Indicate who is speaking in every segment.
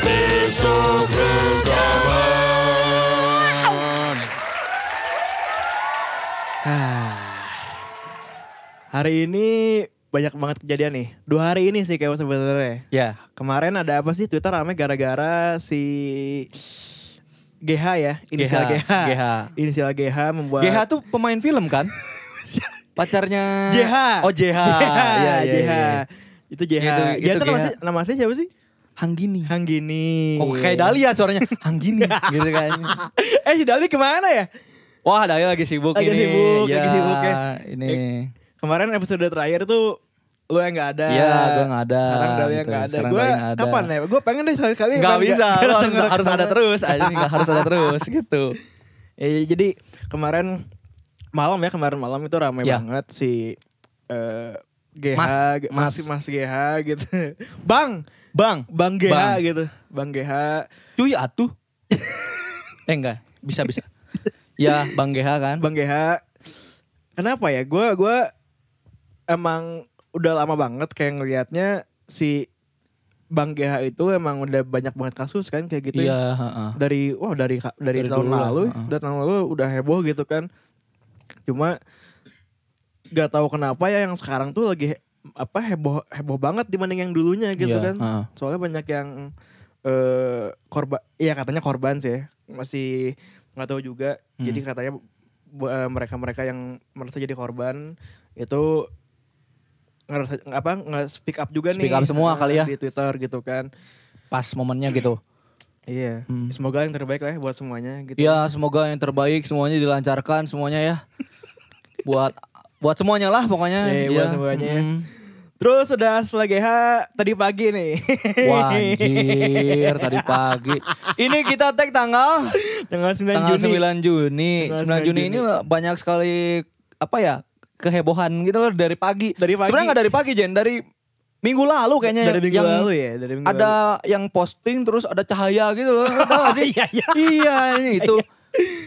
Speaker 1: Besok rekaman.
Speaker 2: Ah. Hari ini banyak banget kejadian nih. Dua hari ini sih kayak sebenarnya.
Speaker 1: Ya,
Speaker 2: Kemarin ada apa sih Twitter rame gara-gara si GH ya, inisial GH.
Speaker 1: GH. GH.
Speaker 2: Inisial GH membuat
Speaker 1: GH tuh pemain film kan? Pacarnya
Speaker 2: JH.
Speaker 1: Oh JH.
Speaker 2: JH.
Speaker 1: Iya, iya,
Speaker 2: JH.
Speaker 1: iya.
Speaker 2: Itu JH.
Speaker 1: Itu-
Speaker 2: Itu,
Speaker 1: itu
Speaker 2: nama,
Speaker 1: GH.
Speaker 2: asli- nama asli siapa sih?
Speaker 1: Hanggini.
Speaker 2: Hanggini.
Speaker 1: Oh kayak Dahlia suaranya Hanggini gitu kan.
Speaker 2: eh si Dali kemana ya?
Speaker 1: Wah Dahlia lagi sibuk
Speaker 2: Lagi
Speaker 1: ini.
Speaker 2: sibuk,
Speaker 1: ya,
Speaker 2: lagi sibuk ya.
Speaker 1: Ini.
Speaker 2: Kemarin episode terakhir tuh lu yang gak ada.
Speaker 1: Iya, gua nggak ada,
Speaker 2: Sekarang Dali yang
Speaker 1: gitu.
Speaker 2: nggak ada.
Speaker 1: Sekarang
Speaker 2: Gue
Speaker 1: Dali nggak ada.
Speaker 2: kapan ya? Gue pengen deh sekali-kali.
Speaker 1: Gak
Speaker 2: emang
Speaker 1: bisa,
Speaker 2: nggak
Speaker 1: lu harus,
Speaker 2: datang-datang
Speaker 1: harus ada
Speaker 2: kemana.
Speaker 1: terus. Ini nggak harus ada terus gitu.
Speaker 2: Ya, jadi kemarin malam ya kemarin malam itu ramai
Speaker 1: Ya.
Speaker 2: banget si eh, GH,
Speaker 1: Mas,
Speaker 2: ge-
Speaker 1: Mas.
Speaker 2: mas, mas GH gitu. Bang,
Speaker 1: Bang,
Speaker 2: Bang GH
Speaker 1: Bang.
Speaker 2: gitu. Bang GH.
Speaker 1: cuy atuh. eh enggak, bisa bisa. Ya, Bang GH kan.
Speaker 2: Bang GH. Kenapa ya? Gue gua emang udah lama banget kayak ngelihatnya si Bang GH itu emang udah banyak banget kasus kan kayak gitu. ya.
Speaker 1: Iya, heeh.
Speaker 2: Dari wah dari ka- dari,
Speaker 1: Dari
Speaker 2: tahun
Speaker 1: dulu lah,
Speaker 2: lalu,
Speaker 1: heeh.
Speaker 2: dari tahun lalu udah heboh gitu kan. Cuma gak tahu kenapa ya yang sekarang tuh lagi he- apa heboh heboh banget dibanding yang dulunya gitu
Speaker 1: Iya,
Speaker 2: kan.
Speaker 1: heeh.
Speaker 2: Soalnya banyak yang eh korban, iya katanya korban sih, ya. masih nggak tahu juga.
Speaker 1: Hmm.
Speaker 2: Jadi katanya bu- eh, mereka-mereka yang merasa jadi korban itu ngerasa apa nggak speak up juga nih
Speaker 1: Speak up
Speaker 2: eh,
Speaker 1: semua kali ya.
Speaker 2: di Twitter gitu kan.
Speaker 1: Pas momennya gitu.
Speaker 2: Iya,
Speaker 1: Hmm.
Speaker 2: semoga yang terbaik lah ya buat semuanya gitu.
Speaker 1: Ya, semoga yang terbaik semuanya dilancarkan semuanya ya. buat buat semuanya lah pokoknya.
Speaker 2: Iya, buat semuanya.
Speaker 1: Mm.
Speaker 2: Terus sudah setelah GH tadi pagi nih.
Speaker 1: Wah anjir tadi pagi. Ini kita tag tanggal
Speaker 2: Tanggal 9
Speaker 1: tanggal
Speaker 2: Juni.
Speaker 1: 9 Juni.
Speaker 2: Tanggal
Speaker 1: 9 Juni,
Speaker 2: 9
Speaker 1: ini banyak sekali apa ya kehebohan gitu loh dari pagi.
Speaker 2: Dari pagi.
Speaker 1: Sebenarnya nggak dari pagi Jen, dari minggu lalu kayaknya
Speaker 2: Dari minggu
Speaker 1: yang
Speaker 2: lalu ya, dari minggu
Speaker 1: ada yang posting terus ada cahaya gitu loh. Lu Tau gak sih?
Speaker 2: Iya, iya.
Speaker 1: Iya, ini itu.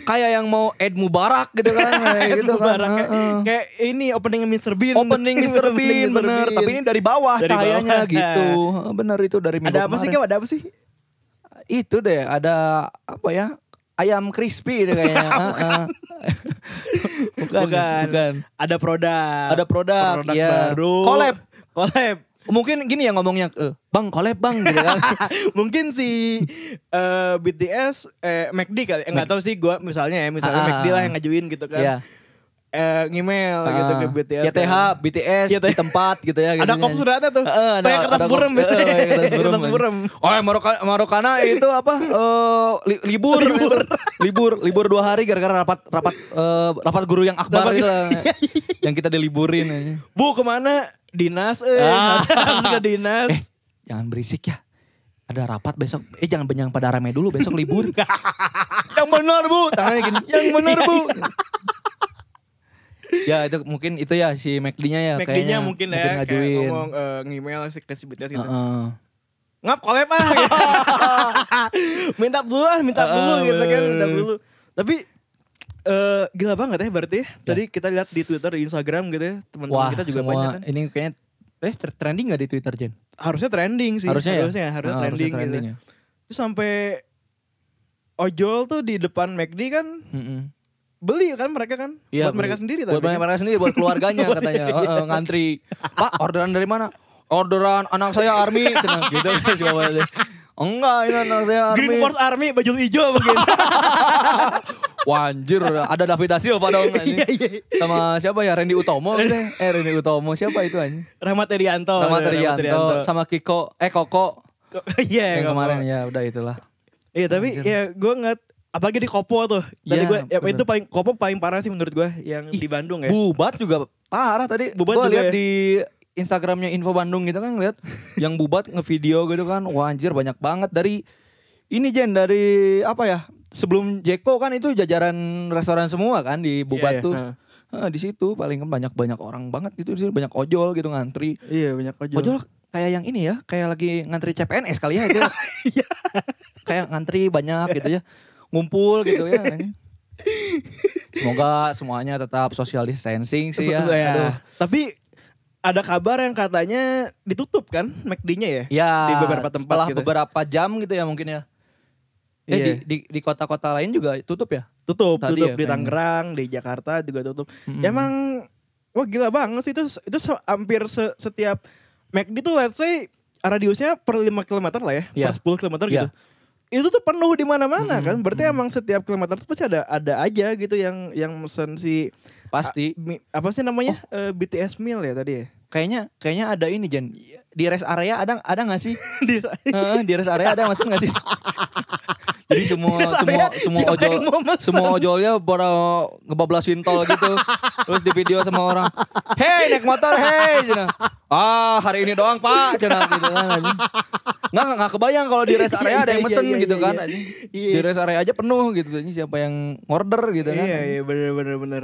Speaker 1: Kayak yang mau Ed Mubarak gitu kan. kayak
Speaker 2: Ed
Speaker 1: gitu kan.
Speaker 2: Mubarak, kayak-
Speaker 1: Heeh.
Speaker 2: kayak ini opening Mr. Bean.
Speaker 1: Opening Mr.
Speaker 2: Opening
Speaker 1: Bean
Speaker 2: Mr.
Speaker 1: bener,
Speaker 2: Bean.
Speaker 1: tapi ini dari bawah
Speaker 2: Dari
Speaker 1: cahayanya
Speaker 2: bawah.
Speaker 1: gitu. Heeh, Bener itu dari minggu
Speaker 2: ada apa sih
Speaker 1: kemarin
Speaker 2: Kev? Ada apa sih?
Speaker 1: itu deh ada apa ya ayam crispy itu kayaknya Heeh. bukan, bukan
Speaker 2: Ada produk.
Speaker 1: Ada produk,
Speaker 2: Produk
Speaker 1: iya.
Speaker 2: baru.
Speaker 1: Collab.
Speaker 2: Collab.
Speaker 1: mungkin gini ya ngomongnya eh, bang kolep bang gitu kan
Speaker 2: Mungkin si eh, BTS eh McD kali. Enggak tahu sih gua misalnya ya, misalnya
Speaker 1: Ah, ah,
Speaker 2: McD lah
Speaker 1: ah.
Speaker 2: yang ngajuin gitu kan.
Speaker 1: Iya.
Speaker 2: Eh ngemail gitu ke
Speaker 1: Ah.
Speaker 2: BTS.
Speaker 1: YTH
Speaker 2: kan.
Speaker 1: BTS di
Speaker 2: YTH.
Speaker 1: tempat gitu ya
Speaker 2: Ada
Speaker 1: gitunya.
Speaker 2: kop suratnya tuh.
Speaker 1: Heeh, ada-
Speaker 2: Kayak kertas
Speaker 1: ada kop-
Speaker 2: burem gitu.
Speaker 1: heeh, kayak kertas burem.
Speaker 2: Kertas burem.
Speaker 1: Oh, ya, Maroka- Marokana itu apa? eh, li- libur, libur, libur, libur dua hari gara-gara rapat rapat eh, rapat guru yang akbar
Speaker 2: Rapat-
Speaker 1: gitu lah. yang kita diliburin. aja.
Speaker 2: Bu kemana? Dinas, eh,
Speaker 1: Ah.
Speaker 2: harus ke dinas.
Speaker 1: Eh, jangan berisik ya. Ada rapat besok. Eh, jangan benyang pada rame dulu besok libur. yang benar, Bu. Tangannya gini. Yang benar, Bu. ya, itu mungkin itu ya si McD-nya ya
Speaker 2: McD-nya
Speaker 1: kayaknya.
Speaker 2: mungkin, ya, kayak
Speaker 1: ngajuin.
Speaker 2: ngomong eh, ngemail sih ke si BTS gitu.
Speaker 1: Heeh.
Speaker 2: ngap collab ah gitu. minta dulu ah minta dulu
Speaker 1: Ah,
Speaker 2: gitu kan
Speaker 1: bener.
Speaker 2: minta dulu tapi eh gila banget ya berarti ya. tadi kita lihat di Twitter di Instagram gitu ya teman-teman
Speaker 1: Iya. Wah,
Speaker 2: kita juga
Speaker 1: semua
Speaker 2: banyak kan
Speaker 1: ini kayaknya eh tr- trending gak di Twitter, Jen?
Speaker 2: harusnya trending sih
Speaker 1: Harusnya ya?
Speaker 2: harusnya, harusnya
Speaker 1: Ah, harusnya
Speaker 2: trending,
Speaker 1: trending
Speaker 2: gitu
Speaker 1: ya.
Speaker 2: terus sampai ojol tuh di depan McD kan
Speaker 1: Heeh.
Speaker 2: beli kan mereka kan buat mereka sendiri
Speaker 1: Iya, Buat
Speaker 2: tapi kan.
Speaker 1: mereka,
Speaker 2: Iya,
Speaker 1: mereka sendiri, buat keluarganya katanya. Heeh, ngantri. Pak, orderan dari mana? Orderan anak saya Army. Cenah, gitu kan si bapaknya. Enggak, ini anak saya Army.
Speaker 2: Green Force Army baju hijau mungkin
Speaker 1: Wah anjir, ada David Da Silva dong anjing.
Speaker 2: Iya, iya.
Speaker 1: Sama siapa ya? Randy Utomo gitu ya. Eh Randy Utomo siapa itu anjing?
Speaker 2: Rahmat Irianto
Speaker 1: Sama Trianto, sama Kiko, eh Koko.
Speaker 2: Kok- iya
Speaker 1: Yang
Speaker 2: nggak
Speaker 1: kemarin
Speaker 2: apa-apa.
Speaker 1: ya udah itulah.
Speaker 2: Iya tapi ya gue ngeliat apalagi di Kopo tuh. Tadi
Speaker 1: Iya,
Speaker 2: gue ya,
Speaker 1: bener.
Speaker 2: itu paling Kopo paling parah sih menurut gue yang di Bandung ya.
Speaker 1: Bubat juga parah tadi.
Speaker 2: Bubat
Speaker 1: Gua
Speaker 2: juga
Speaker 1: lihat
Speaker 2: ya.
Speaker 1: di Instagramnya Info Bandung gitu kan lihat yang bubat ngevideo gitu kan. Wah anjir banyak banget dari ini Jen dari apa ya? Sebelum Jeko kan itu jajaran restoran semua kan di
Speaker 2: Iya, iya,
Speaker 1: Bubat tuh.
Speaker 2: heeh.
Speaker 1: eh, di situ paling banyak banyak orang banget itu di situ banyak ojol gitu ngantri.
Speaker 2: Iya banyak ojol.
Speaker 1: Ojol Oh, kayak yang ini ya, kayak lagi ngantri CPNS kali ya itu.
Speaker 2: Iya.
Speaker 1: kayak ngantri banyak gitu ya. Ngumpul gitu ya. Semoga semuanya tetap social distancing sih ya.
Speaker 2: So- so- ya.
Speaker 1: Aduh.
Speaker 2: Tapi ada kabar yang katanya ditutup kan McD-nya ya?
Speaker 1: Ya,
Speaker 2: Di beberapa tempat
Speaker 1: setelah
Speaker 2: gitu.
Speaker 1: beberapa jam gitu ya mungkin ya. Eh
Speaker 2: Iya.
Speaker 1: di di di kota-kota lain juga tutup ya?
Speaker 2: Tutup,
Speaker 1: Tadi
Speaker 2: tutup di
Speaker 1: ya kayaknya.
Speaker 2: Tangerang, di Jakarta juga tutup.
Speaker 1: Mm-mm.
Speaker 2: Ya emang wah gila banget sih itu itu se- hampir se- setiap McD tuh let's say radiusnya per 5 km lah ya,
Speaker 1: Iya.
Speaker 2: per 10 km gitu.
Speaker 1: Iya.
Speaker 2: Itu tuh penuh di mana-mana
Speaker 1: Mm-mm,
Speaker 2: kan. Berarti emang setiap kilometer tuh pasti ada ada aja gitu yang yang mesen si
Speaker 1: Pasti. Oh.
Speaker 2: mi- apa sih namanya? Eh, BTS meal ya tadi ya.
Speaker 1: Kayaknya kayaknya ada ini Jen. Di rest area ada ada nggak sih?
Speaker 2: Di-
Speaker 1: Heeh, di rest area ada masuk nggak sih? Jadi semua
Speaker 2: Di rest
Speaker 1: semua
Speaker 2: area
Speaker 1: semua
Speaker 2: siapa
Speaker 1: ojol
Speaker 2: yang mau mesen?
Speaker 1: semua ojolnya pada ngebablasin tol gitu. Terus di video sama orang, "Hei, naik motor, hei." Cina. Ah, hari ini doang, Pak. Cina gitu kan anjing. Nggak, nggak, nggak kebayang kalau di rest area
Speaker 2: Iya,
Speaker 1: ada yang
Speaker 2: iya,
Speaker 1: mesen
Speaker 2: iya,
Speaker 1: gitu
Speaker 2: iya,
Speaker 1: kan
Speaker 2: iya.
Speaker 1: anjing.
Speaker 2: Iya.
Speaker 1: Di rest area aja penuh gitu anjing siapa yang order gitu kan.
Speaker 2: Iya iya bener bener bener.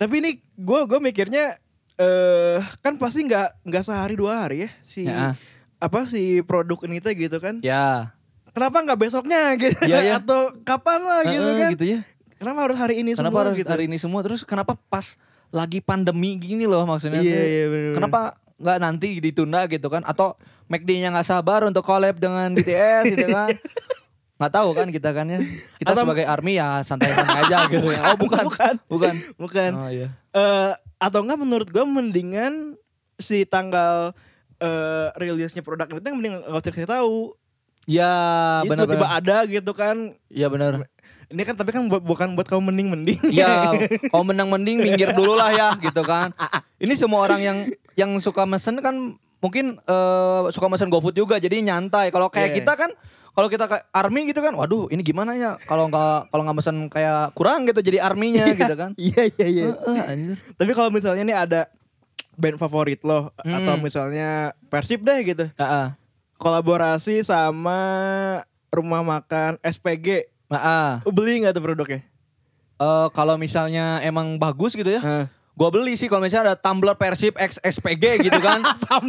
Speaker 2: Tapi ini gue gue mikirnya eh kan pasti nggak nggak sehari dua hari ya si
Speaker 1: Ya.
Speaker 2: apa si produk ini teh gitu kan.
Speaker 1: Ya.
Speaker 2: Kenapa nggak besoknya gitu
Speaker 1: Iya, iya.
Speaker 2: atau kapan lah gitu
Speaker 1: Heeh,
Speaker 2: kan?
Speaker 1: gitu ya.
Speaker 2: Kenapa harus hari ini
Speaker 1: kenapa
Speaker 2: semua
Speaker 1: harus
Speaker 2: gitu?
Speaker 1: hari ini semua terus kenapa pas lagi pandemi gini loh maksudnya
Speaker 2: Iya,
Speaker 1: tuh.
Speaker 2: iya, bener-bener.
Speaker 1: kenapa nggak nanti ditunda gitu kan atau McD-nya nggak sabar untuk collab dengan BTS gitu kan nggak tahu kan kita kan ya kita
Speaker 2: Atau-
Speaker 1: sebagai army ya santai-santai aja gitu ya. oh bukan
Speaker 2: bukan.
Speaker 1: bukan
Speaker 2: Bukan.
Speaker 1: oh iya
Speaker 2: Eh, atau enggak menurut gue mendingan si tanggal eh rilisnya produk ini teh mending nggak usah dikasih tahu.
Speaker 1: ya
Speaker 2: Jadi tiba-tiba
Speaker 1: benar-benar
Speaker 2: ada gitu kan.
Speaker 1: ya benar
Speaker 2: Ini kan tapi kan buat, bukan buat kamu mending-mending.
Speaker 1: ya kalau menang mending minggir dulu lah ya gitu kan ini semua orang yang yang suka mesen kan mungkin eh, suka mesen GoFood juga jadi nyantai kalau kayak
Speaker 2: Iya.
Speaker 1: kita kan kalau kita ke army gitu kan waduh ini gimana ya kalau nggak kalau nggak mesen kayak kurang gitu jadi arminya gitu kan
Speaker 2: Iya iya iya.
Speaker 1: Eh, anjir.
Speaker 2: Tapi kalau misalnya nih ada band favorit lo atau misalnya Persib deh gitu.
Speaker 1: Ah, ah.
Speaker 2: Kolaborasi sama rumah makan SPG.
Speaker 1: Ah, ah.
Speaker 2: Beli nggak tuh produknya?
Speaker 1: Eh, kalau misalnya emang bagus gitu ya
Speaker 2: Heeh.
Speaker 1: Gua beli sih kalau misalnya ada tumbler Persib X SPG gitu kan.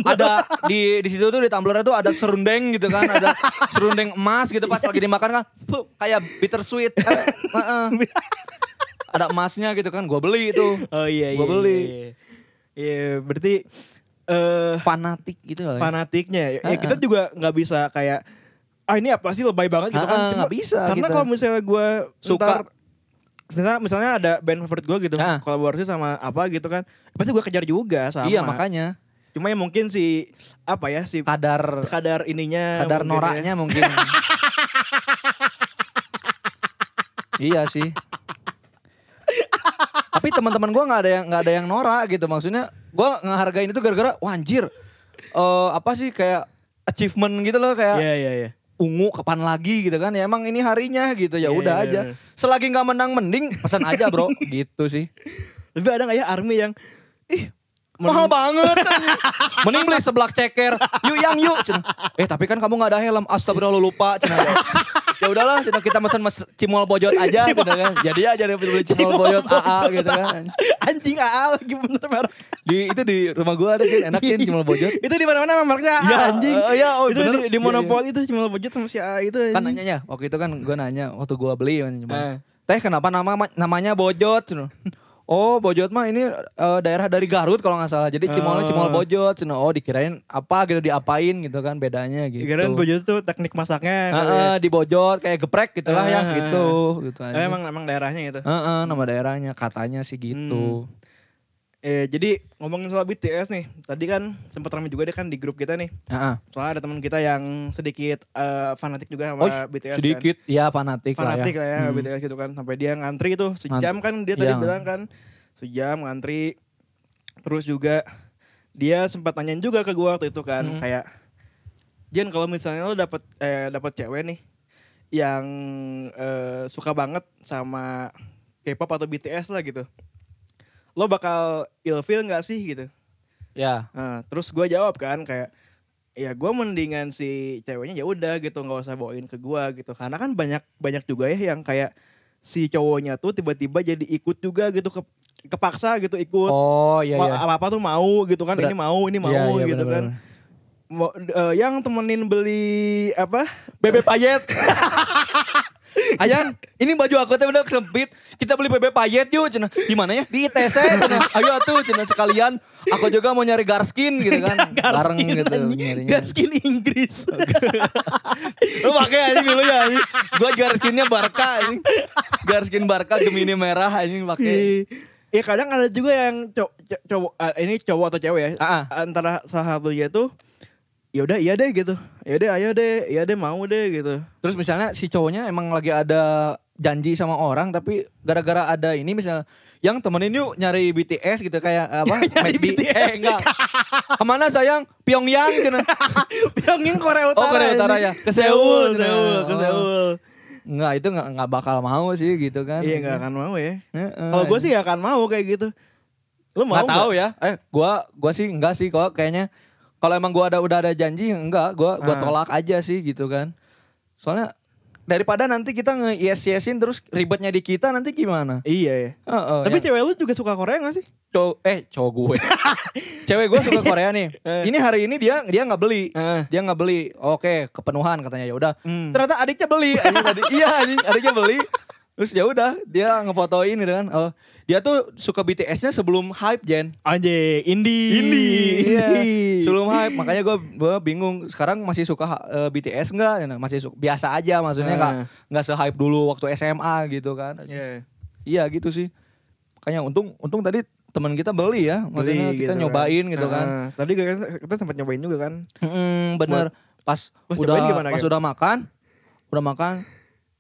Speaker 1: ada di di situ tuh di tumblernya tuh ada serundeng gitu kan, ada serundeng emas gitu pas lagi dimakan kan fuh, kayak bittersweet. Eh, heeh. ada emasnya gitu kan, gua beli itu.
Speaker 2: Oh iya iya.
Speaker 1: Gua beli.
Speaker 2: Iya, iya. Iya, berarti eh
Speaker 1: Fanatik gitu loh. ya.
Speaker 2: fanatiknya. Ya, kita juga nggak bisa kayak ah ini apa sih lebay banget gitu kan.
Speaker 1: Heeh,
Speaker 2: Cuma
Speaker 1: nggak bisa
Speaker 2: Karena
Speaker 1: kita.
Speaker 2: kalau misalnya gue
Speaker 1: Suka.
Speaker 2: Misalnya, misalnya ada band favorit gue gitu
Speaker 1: Heeh.
Speaker 2: kolaborasi sama apa gitu kan pasti gue kejar juga sama
Speaker 1: Iya makanya
Speaker 2: Cuma ya mungkin si apa ya si
Speaker 1: kadar
Speaker 2: kadar ininya
Speaker 1: kadar
Speaker 2: mungkin ya.
Speaker 1: noraknya mungkin. iya sih. Tapi teman-teman gua nggak ada yang nggak ada yang norak gitu maksudnya. gua ngehargain itu gara-gara wah anjir. eh, apa sih kayak achievement gitu
Speaker 2: ya.
Speaker 1: loh kayak
Speaker 2: Iya iya iya.
Speaker 1: ungu kapan lagi gitu kan ya emang ini harinya gitu
Speaker 2: Iya,
Speaker 1: ya udah
Speaker 2: iya,
Speaker 1: aja
Speaker 2: iya.
Speaker 1: selagi nggak menang mending pesan aja bro gitu sih
Speaker 2: Tapi ada nggak ya army yang ih
Speaker 1: mahal banget kan? mending beli seblak ceker yuk yang yuk Cina. eh tapi kan kamu nggak ada helm astagfirullah lupa Cina. ya udahlah Cina, kita mesen mes cimol bojot aja Cina, kan. jadi aja dia beli cimol bojot AA gitu kan
Speaker 2: anjing AA lagi bener merek.
Speaker 1: di itu di rumah gua ada kan enakin cimol bojot
Speaker 2: itu di mana-mana sama mereknya AA,
Speaker 1: Ya,
Speaker 2: anjing.
Speaker 1: eh, iya, oh,
Speaker 2: itu
Speaker 1: bener.
Speaker 2: di, di
Speaker 1: Iya,
Speaker 2: monopoli itu cuma budget sama si AA itu
Speaker 1: kan
Speaker 2: anjing.
Speaker 1: nanyanya waktu itu kan gue nanya waktu gue beli kan, cuma,
Speaker 2: Eh.
Speaker 1: teh kenapa nama namanya bojot Cina. oh bojot mah ini eh, daerah dari Garut kalau nggak salah jadi cimolnya cimol bojot Cina. oh dikirain apa gitu diapain gitu kan bedanya gitu
Speaker 2: Kirain budget itu teknik masaknya
Speaker 1: Heeh,
Speaker 2: kali ya.
Speaker 1: di Bojot kayak geprek gitu lah ya
Speaker 2: Ah.
Speaker 1: gitu gitu
Speaker 2: Eh,
Speaker 1: aja.
Speaker 2: emang emang daerahnya itu.
Speaker 1: Heeh, nama daerahnya katanya sih gitu.
Speaker 2: Eh jadi ngomongin soal BTS nih. Tadi kan sempat ramai juga deh kan di grup kita nih.
Speaker 1: Heeh.
Speaker 2: Soalnya ada teman kita yang sedikit eh, fanatik juga sama
Speaker 1: Oh,
Speaker 2: BTS kan.
Speaker 1: sedikit ya fanatik,
Speaker 2: fanatik
Speaker 1: lah ya.
Speaker 2: lah ya BTS gitu kan sampai dia ngantri tuh sejam
Speaker 1: Ngantri.
Speaker 2: kan dia tadi
Speaker 1: Iya.
Speaker 2: bilang kan sejam ngantri terus juga dia sempat nanyain juga ke gua waktu itu kan
Speaker 1: Hmm.
Speaker 2: kayak Jen kalau misalnya lo dapet eh, dapet cewek nih yang eh, suka banget sama K-pop atau BTS lah gitu lo bakal ilfeel nggak sih gitu
Speaker 1: Ya.
Speaker 2: Nah, terus gue jawab kan kayak ya gue mendingan si ceweknya ya udah gitu nggak usah bawain ke gue gitu karena kan banyak banyak juga ya yang kayak si cowoknya tuh tiba-tiba jadi ikut juga gitu ke kepaksa gitu ikut
Speaker 3: Oh iya iya.
Speaker 2: apa apa tuh mau gitu kan
Speaker 3: Berat.
Speaker 2: ini mau ini mau
Speaker 3: Iya, iya,
Speaker 2: gitu
Speaker 3: benar-benar.
Speaker 2: kan Mau- eh, yang temenin beli apa
Speaker 1: Bebek payet. Ayan, ini baju aku teh udah sempit. Kita beli bebek payet yuk, cina. Di mana ya? Di ITC, cina. Ayo atuh, cina sekalian. Aku juga mau nyari garskin gitu kan. Bareng gitu nyarinya.
Speaker 3: Gaskin Inggris.
Speaker 1: Lu pakai anjing dulu ya anjing. Gua garskinnya Barca anjing. Garskin Barca Gemini merah anjing pakai.
Speaker 2: Iya kadang ada juga yang cow- cow- cowok ah, ini cowok atau cewek ya
Speaker 1: Ah, ah.
Speaker 2: antara salah satunya tuh ya udah iya deh gitu ya udah ayo deh iya deh mau deh gitu
Speaker 1: Terus misalnya si cowoknya emang lagi ada janji sama orang tapi gara-gara ada ini misalnya yang temenin yuk nyari BTS gitu kayak apa?
Speaker 3: Nyari
Speaker 1: McD.
Speaker 3: BTS.
Speaker 1: Eh enggak. Kemana sayang? Pyongyang gitu. cina.
Speaker 2: Pyongyang Korea Utara
Speaker 1: Oh, Korea Utara
Speaker 2: anjing.
Speaker 1: ya.
Speaker 2: ke Seoul
Speaker 1: Seoul,
Speaker 2: Seoul ke
Speaker 1: oh.
Speaker 2: Seoul
Speaker 1: Enggak, itu enggak enggak bakal mau sih gitu kan.
Speaker 2: iya nggak akan mau ya
Speaker 1: Heeh.
Speaker 2: kalau gue sih gak akan mau kayak gitu lu mau
Speaker 1: nggak tahu ya. Eh, gua gua sih enggak sih kok kayaknya kalau emang gua ada udah ada janji enggak, gua
Speaker 2: Ah.
Speaker 1: gua tolak aja sih gitu kan. Soalnya daripada nanti kita nge yes yesin terus ribetnya di kita nanti gimana?
Speaker 2: iya ya
Speaker 1: Heeh.
Speaker 2: tapi
Speaker 1: ya.
Speaker 2: cewek lu juga suka Korea gak sih
Speaker 1: Cowok eh cowok gue. Cewek gue suka Korea nih.
Speaker 2: Eh.
Speaker 1: Ini hari ini dia dia nggak beli.
Speaker 2: Heeh.
Speaker 1: Dia nggak beli. Oke, kepenuhan katanya ya udah.
Speaker 2: Hmm.
Speaker 1: Ternyata adiknya beli. Anjing, adik- iya anjing, adiknya beli. Terus ya udah, dia ngefotoin gitu kan. Oh, dia tuh suka BTS-nya sebelum hype, Jen.
Speaker 2: Anjay, indie.
Speaker 1: Iya.
Speaker 2: Indie.
Speaker 1: Sebelum hype, makanya gue bingung. Sekarang masih suka eh, BTS nggak? Nah, Masih su- biasa aja, maksudnya nggak
Speaker 2: Eh.
Speaker 1: nggak se-hype dulu waktu SMA gitu kan?
Speaker 2: Iya.
Speaker 1: Iya gitu sih. Makanya untung untung tadi teman kita beli ya, maksudnya
Speaker 2: Beli
Speaker 1: kita
Speaker 2: gitu
Speaker 1: nyobain
Speaker 2: kan.
Speaker 1: gitu kan.
Speaker 2: Heeh. Tadi kita, kita sempat nyobain juga kan.
Speaker 1: Mm, bener. Pas
Speaker 2: Pas
Speaker 1: udah
Speaker 2: nyobain gimana,
Speaker 1: pas
Speaker 2: Gap?
Speaker 1: udah makan, udah makan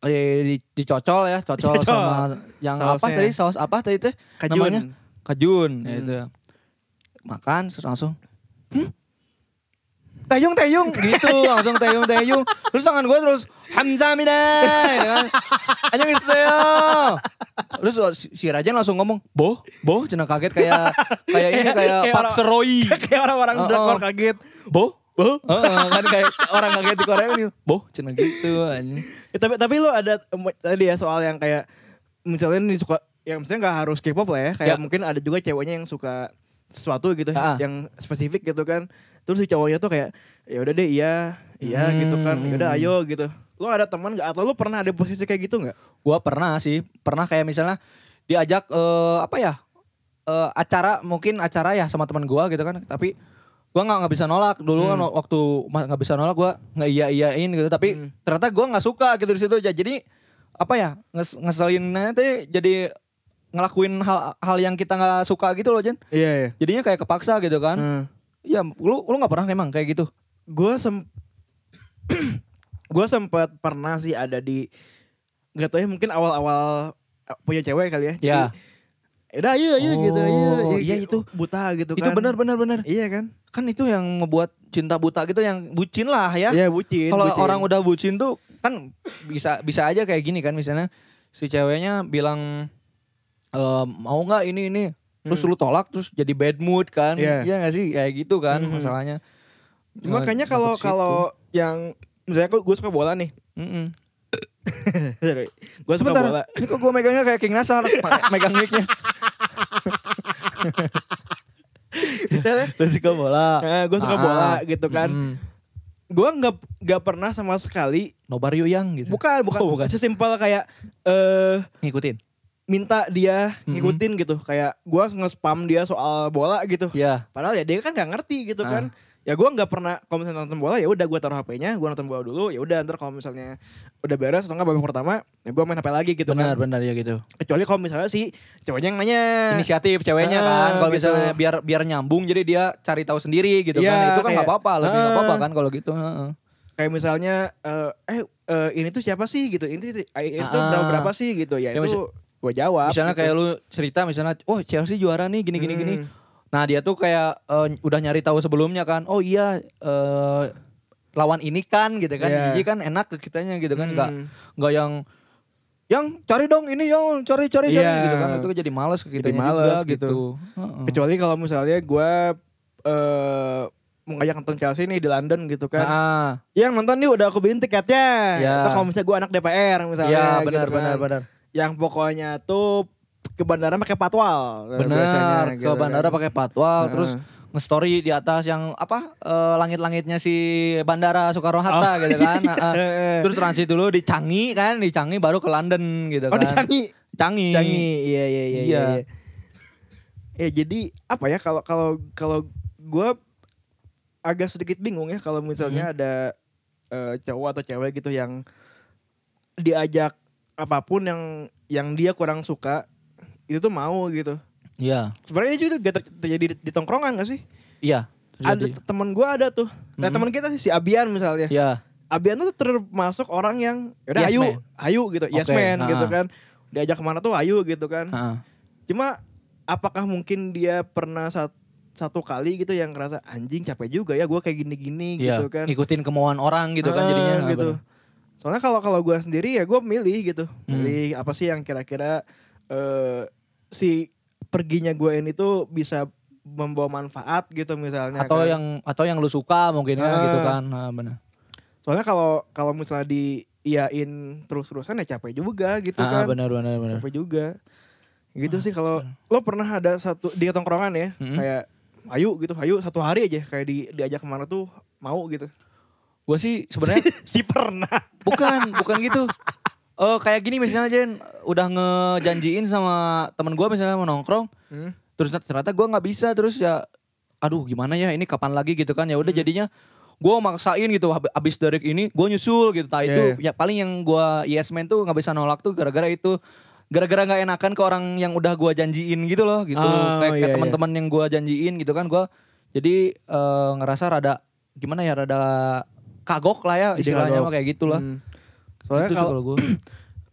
Speaker 1: eh, di- dicocol ya, cocol,
Speaker 2: Dicocol.
Speaker 1: sama yang apa
Speaker 2: Sausnya.
Speaker 1: tadi saus apa tadi teh
Speaker 2: Kajun.
Speaker 1: namanya kajun ya itu. Makan terus langsung "Hmm? Teyung teyung gitu langsung teyung teyung terus tangan gue terus Hamzamida ya kan anjing iseo terus si- si Rajan langsung ngomong boh boh cina kaget kayak kayak ini kayak
Speaker 2: Kayak
Speaker 1: Pak
Speaker 2: orang-
Speaker 1: Seroy
Speaker 2: Kayak orang-orang
Speaker 1: Oh,
Speaker 2: drakor
Speaker 1: oh.
Speaker 2: kaget.
Speaker 1: Bo? Bo? Heeh, kan kayak orang kaget di Korea kan gitu, Bo? Cina gitu anjing.
Speaker 2: Eh, tapi tapi lu ada em, tadi ya soal yang kayak misalnya nih suka yang misalnya nggak harus K-pop lah ya. Kayak
Speaker 1: Ya.
Speaker 2: mungkin ada juga ceweknya yang suka sesuatu gitu
Speaker 1: Ah.
Speaker 2: yang spesifik gitu kan. Terus si cowoknya tuh kayak ya udah deh iya, iya gitu kan. Ya udah ayo
Speaker 1: Hmm.
Speaker 2: gitu. Lu ada teman gak atau lu pernah ada posisi kayak gitu nggak?
Speaker 1: Gua pernah sih, pernah kayak misalnya diajak eh, apa ya? eh, acara mungkin acara ya sama teman gua gitu kan, tapi gua nggak nggak bisa nolak dulu kan waktu ma- nggak bisa nolak gua nggak iya iyain gitu tapi ternyata gua nggak suka gitu di situ Ja- jadi apa ya nges ngeselinnya tuh jadi ngelakuin hal hal yang kita nggak suka gitu loh Jen
Speaker 2: Iya, iya.
Speaker 1: jadinya kayak kepaksa gitu kan ya lu lu nggak pernah emang kayak gitu
Speaker 2: gue sem gue sempat pernah sih ada di nggak tahu ya mungkin awal-awal eh, punya cewek kali ya jadi
Speaker 1: ya
Speaker 2: udah ayo ayo
Speaker 1: Oh,
Speaker 2: gitu ayo ayo,
Speaker 1: iya,
Speaker 2: gitu.
Speaker 1: itu-
Speaker 2: buta gitu kan
Speaker 1: itu benar benar benar
Speaker 2: iya kan
Speaker 1: kan itu yang membuat cinta buta gitu yang bucin lah ya.
Speaker 2: iya bucin
Speaker 1: Kalau
Speaker 2: bucin.
Speaker 1: orang udah bucin tuh kan bisa bisa aja kayak gini kan misalnya si ceweknya bilang e, mau nggak ini ini terus lu tolak terus jadi bad mood kan.
Speaker 2: Iya.
Speaker 1: Hmm. Iya nggak sih kayak gitu kan masalahnya.
Speaker 2: cuma kayaknya
Speaker 1: Nah,
Speaker 2: kalau
Speaker 1: takut situ.
Speaker 2: kalau yang misalnya gue suka bola nih
Speaker 1: Mm-mm.
Speaker 2: gue suka
Speaker 1: Sebentar,
Speaker 2: bola
Speaker 1: ini kok gue megangnya kayak King Nasar, ma- megang mic-nya.
Speaker 2: misalnya
Speaker 1: Lu suka bola.
Speaker 2: gue suka
Speaker 1: Ah,
Speaker 2: bola
Speaker 1: ah.
Speaker 2: gitu kan
Speaker 1: Mm-mm.
Speaker 2: gue nggak nggak pernah sama sekali
Speaker 1: Nobar yuk yang gitu.
Speaker 2: bukan Iya. bukan,
Speaker 1: Oh, bukan.
Speaker 2: sesimpel kayak eh
Speaker 1: Ngikutin.
Speaker 2: minta dia
Speaker 1: Mhm.
Speaker 2: ngikutin gitu kayak gue nge-spam dia soal bola gitu
Speaker 1: Ya.
Speaker 2: padahal ya dia kan nggak ngerti gitu kan
Speaker 1: Ah.
Speaker 2: ya gue nggak pernah kalau misalnya nonton bola ya udah gue taruh HP-nya gue nonton bola dulu ya udah ntar kalau misalnya udah beres atau nggak babak pertama ya gue main HP lagi gitu
Speaker 1: benar
Speaker 2: kan
Speaker 1: benar ya gitu.
Speaker 2: kecuali kalau misalnya si cowoknya yang nanya
Speaker 1: inisiatif ceweknya
Speaker 2: Ah,
Speaker 1: kan kalau
Speaker 2: gitu.
Speaker 1: misalnya biar biar nyambung jadi dia cari tahu sendiri gitu
Speaker 2: Iya,
Speaker 1: kan itu kan nggak
Speaker 2: kayak,
Speaker 1: apa-apa lebih nggak
Speaker 2: ah.
Speaker 1: apa-apa kan kalau gitu heeh.
Speaker 2: kayak misalnya eh eh, eh, ini tuh siapa sih gitu ini tuh- eh, itu
Speaker 1: Ah.
Speaker 2: berapa berapa sih gitu ya
Speaker 1: Ya,
Speaker 2: itu gue jawab
Speaker 1: misalnya
Speaker 2: gitu.
Speaker 1: kayak lu cerita misalnya oh Chelsea juara nih gini gini
Speaker 2: Hmm.
Speaker 1: gini nah dia tuh kayak eh, udah nyari tahu sebelumnya kan oh iya eh, lawan ini kan gitu kan
Speaker 2: Iya.
Speaker 1: jadi kan enak ke kitanya gitu kan nggak
Speaker 2: Hmm.
Speaker 1: nggak yang yang cari dong ini yang cari cari cari
Speaker 2: Iya.
Speaker 1: gitu kan itu jadi males ke
Speaker 2: Jadi
Speaker 1: kitanya
Speaker 2: males
Speaker 1: juga gitu,
Speaker 2: gitu.
Speaker 1: Heeh.
Speaker 2: kecuali kalau misalnya gue eh mau ngajak nonton Chelsea nih di London gitu kan
Speaker 1: Ah,
Speaker 2: yang nonton nih udah aku beliin tiketnya
Speaker 1: Ya.
Speaker 2: atau kalau misalnya gue anak DPR misalnya
Speaker 1: iya
Speaker 2: gitu
Speaker 1: benar
Speaker 2: kan.
Speaker 1: benar benar
Speaker 2: yang pokoknya tuh ke bandara pakai patwal. eh, biasanya
Speaker 1: Benar,
Speaker 2: gitu
Speaker 1: ke
Speaker 2: kan. Nah.
Speaker 1: bandara pakai patwal,
Speaker 2: Heeh.
Speaker 1: terus nge-story di atas yang apa eh, langit-langitnya si bandara Soekarno Hatta
Speaker 2: Oh,
Speaker 1: gitu kan.
Speaker 2: iya.
Speaker 1: Heeh. terus transit dulu di Changi kan, di Changi baru ke London gitu
Speaker 2: Oh,
Speaker 1: kan.
Speaker 2: di Changi.
Speaker 1: Changi.
Speaker 2: Changi, iya iya iya iya.
Speaker 1: Iya.
Speaker 2: iya. Ya jadi apa ya kalau kalau kalau gue agak sedikit bingung ya kalau misalnya ada eh, cowok atau cewek gitu yang diajak apapun yang yang dia kurang suka itu tuh mau gitu.
Speaker 1: Iya.
Speaker 2: Sebenarnya itu juga ter- terjadi di, di tongkrongan gak sih?
Speaker 1: Iya.
Speaker 2: Ada
Speaker 1: terjadi.
Speaker 2: t- temen gue ada tuh. Nah,
Speaker 1: Mm-mm.
Speaker 2: teman kita sih si Abian misalnya.
Speaker 1: Iya.
Speaker 2: Abian tuh termasuk orang yang udah
Speaker 1: Yes
Speaker 2: ayu,
Speaker 1: man."
Speaker 2: ayu gitu, yes
Speaker 1: Oke,
Speaker 2: man gitu
Speaker 1: ah.
Speaker 2: kan. Diajak kemana tuh ayu gitu kan.
Speaker 1: Heeh.
Speaker 2: Cuma apakah mungkin dia pernah sat- satu kali gitu yang ngerasa anjing capek juga ya gue kayak gini-gini
Speaker 1: Iya.
Speaker 2: gitu kan.
Speaker 1: Ikutin kemauan orang gitu
Speaker 2: Ah,
Speaker 1: kan jadinya. Ah,
Speaker 2: gitu.
Speaker 1: benar.
Speaker 2: Soalnya kalau kalau gue sendiri ya gue milih gitu,
Speaker 1: Hmm.
Speaker 2: milih apa sih yang kira-kira eh si perginya gue ini tuh bisa membawa manfaat gitu misalnya.
Speaker 1: Atau
Speaker 2: kan.
Speaker 1: yang atau yang lu suka mungkin ya
Speaker 2: Ah.
Speaker 1: gitu kan. Ah, benar.
Speaker 2: soalnya kalau kalau misalnya diiyain terus-terusan ya capek juga gitu
Speaker 1: Ah,
Speaker 2: kan.
Speaker 1: benar benar benar.
Speaker 2: Capek juga. Gitu sih kalau lo pernah ada satu di tongkrongan ya,
Speaker 1: Mm-mm.
Speaker 2: kayak ayo gitu, ayo satu hari aja kayak di diajak kemana tuh mau gitu.
Speaker 1: Gue sih sebenarnya
Speaker 2: si pernah.
Speaker 1: Bukan, bukan gitu. Eh kayak gini misalnya Jen, udah ngejanjiin sama temen gue misalnya mau nongkrong,
Speaker 2: Hmm.
Speaker 1: terus ternyata gue nggak bisa, terus ya, aduh gimana ya, ini kapan lagi gitu kan? Ya udah
Speaker 2: Hmm.
Speaker 1: jadinya gue maksain gitu, hab- abis dari ini gue nyusul gitu. Tah itu
Speaker 2: Iya,
Speaker 1: ya paling yang gue yes man tuh nggak bisa nolak tuh gara-gara itu, gara-gara nggak enakan ke orang yang udah gue janjiin gitu loh, gitu.
Speaker 2: Oh,
Speaker 1: kayak
Speaker 2: iya,
Speaker 1: kayak
Speaker 2: iya.
Speaker 1: teman-teman yang gue janjiin gitu kan, gue jadi eh, ngerasa rada gimana ya, rada kagok lah ya
Speaker 2: Jadi
Speaker 1: istilahnya
Speaker 2: kagok.
Speaker 1: mah kayak gitulah.
Speaker 2: Hmm. Soalnya
Speaker 1: Itu sih
Speaker 2: kalau
Speaker 1: kalau gue.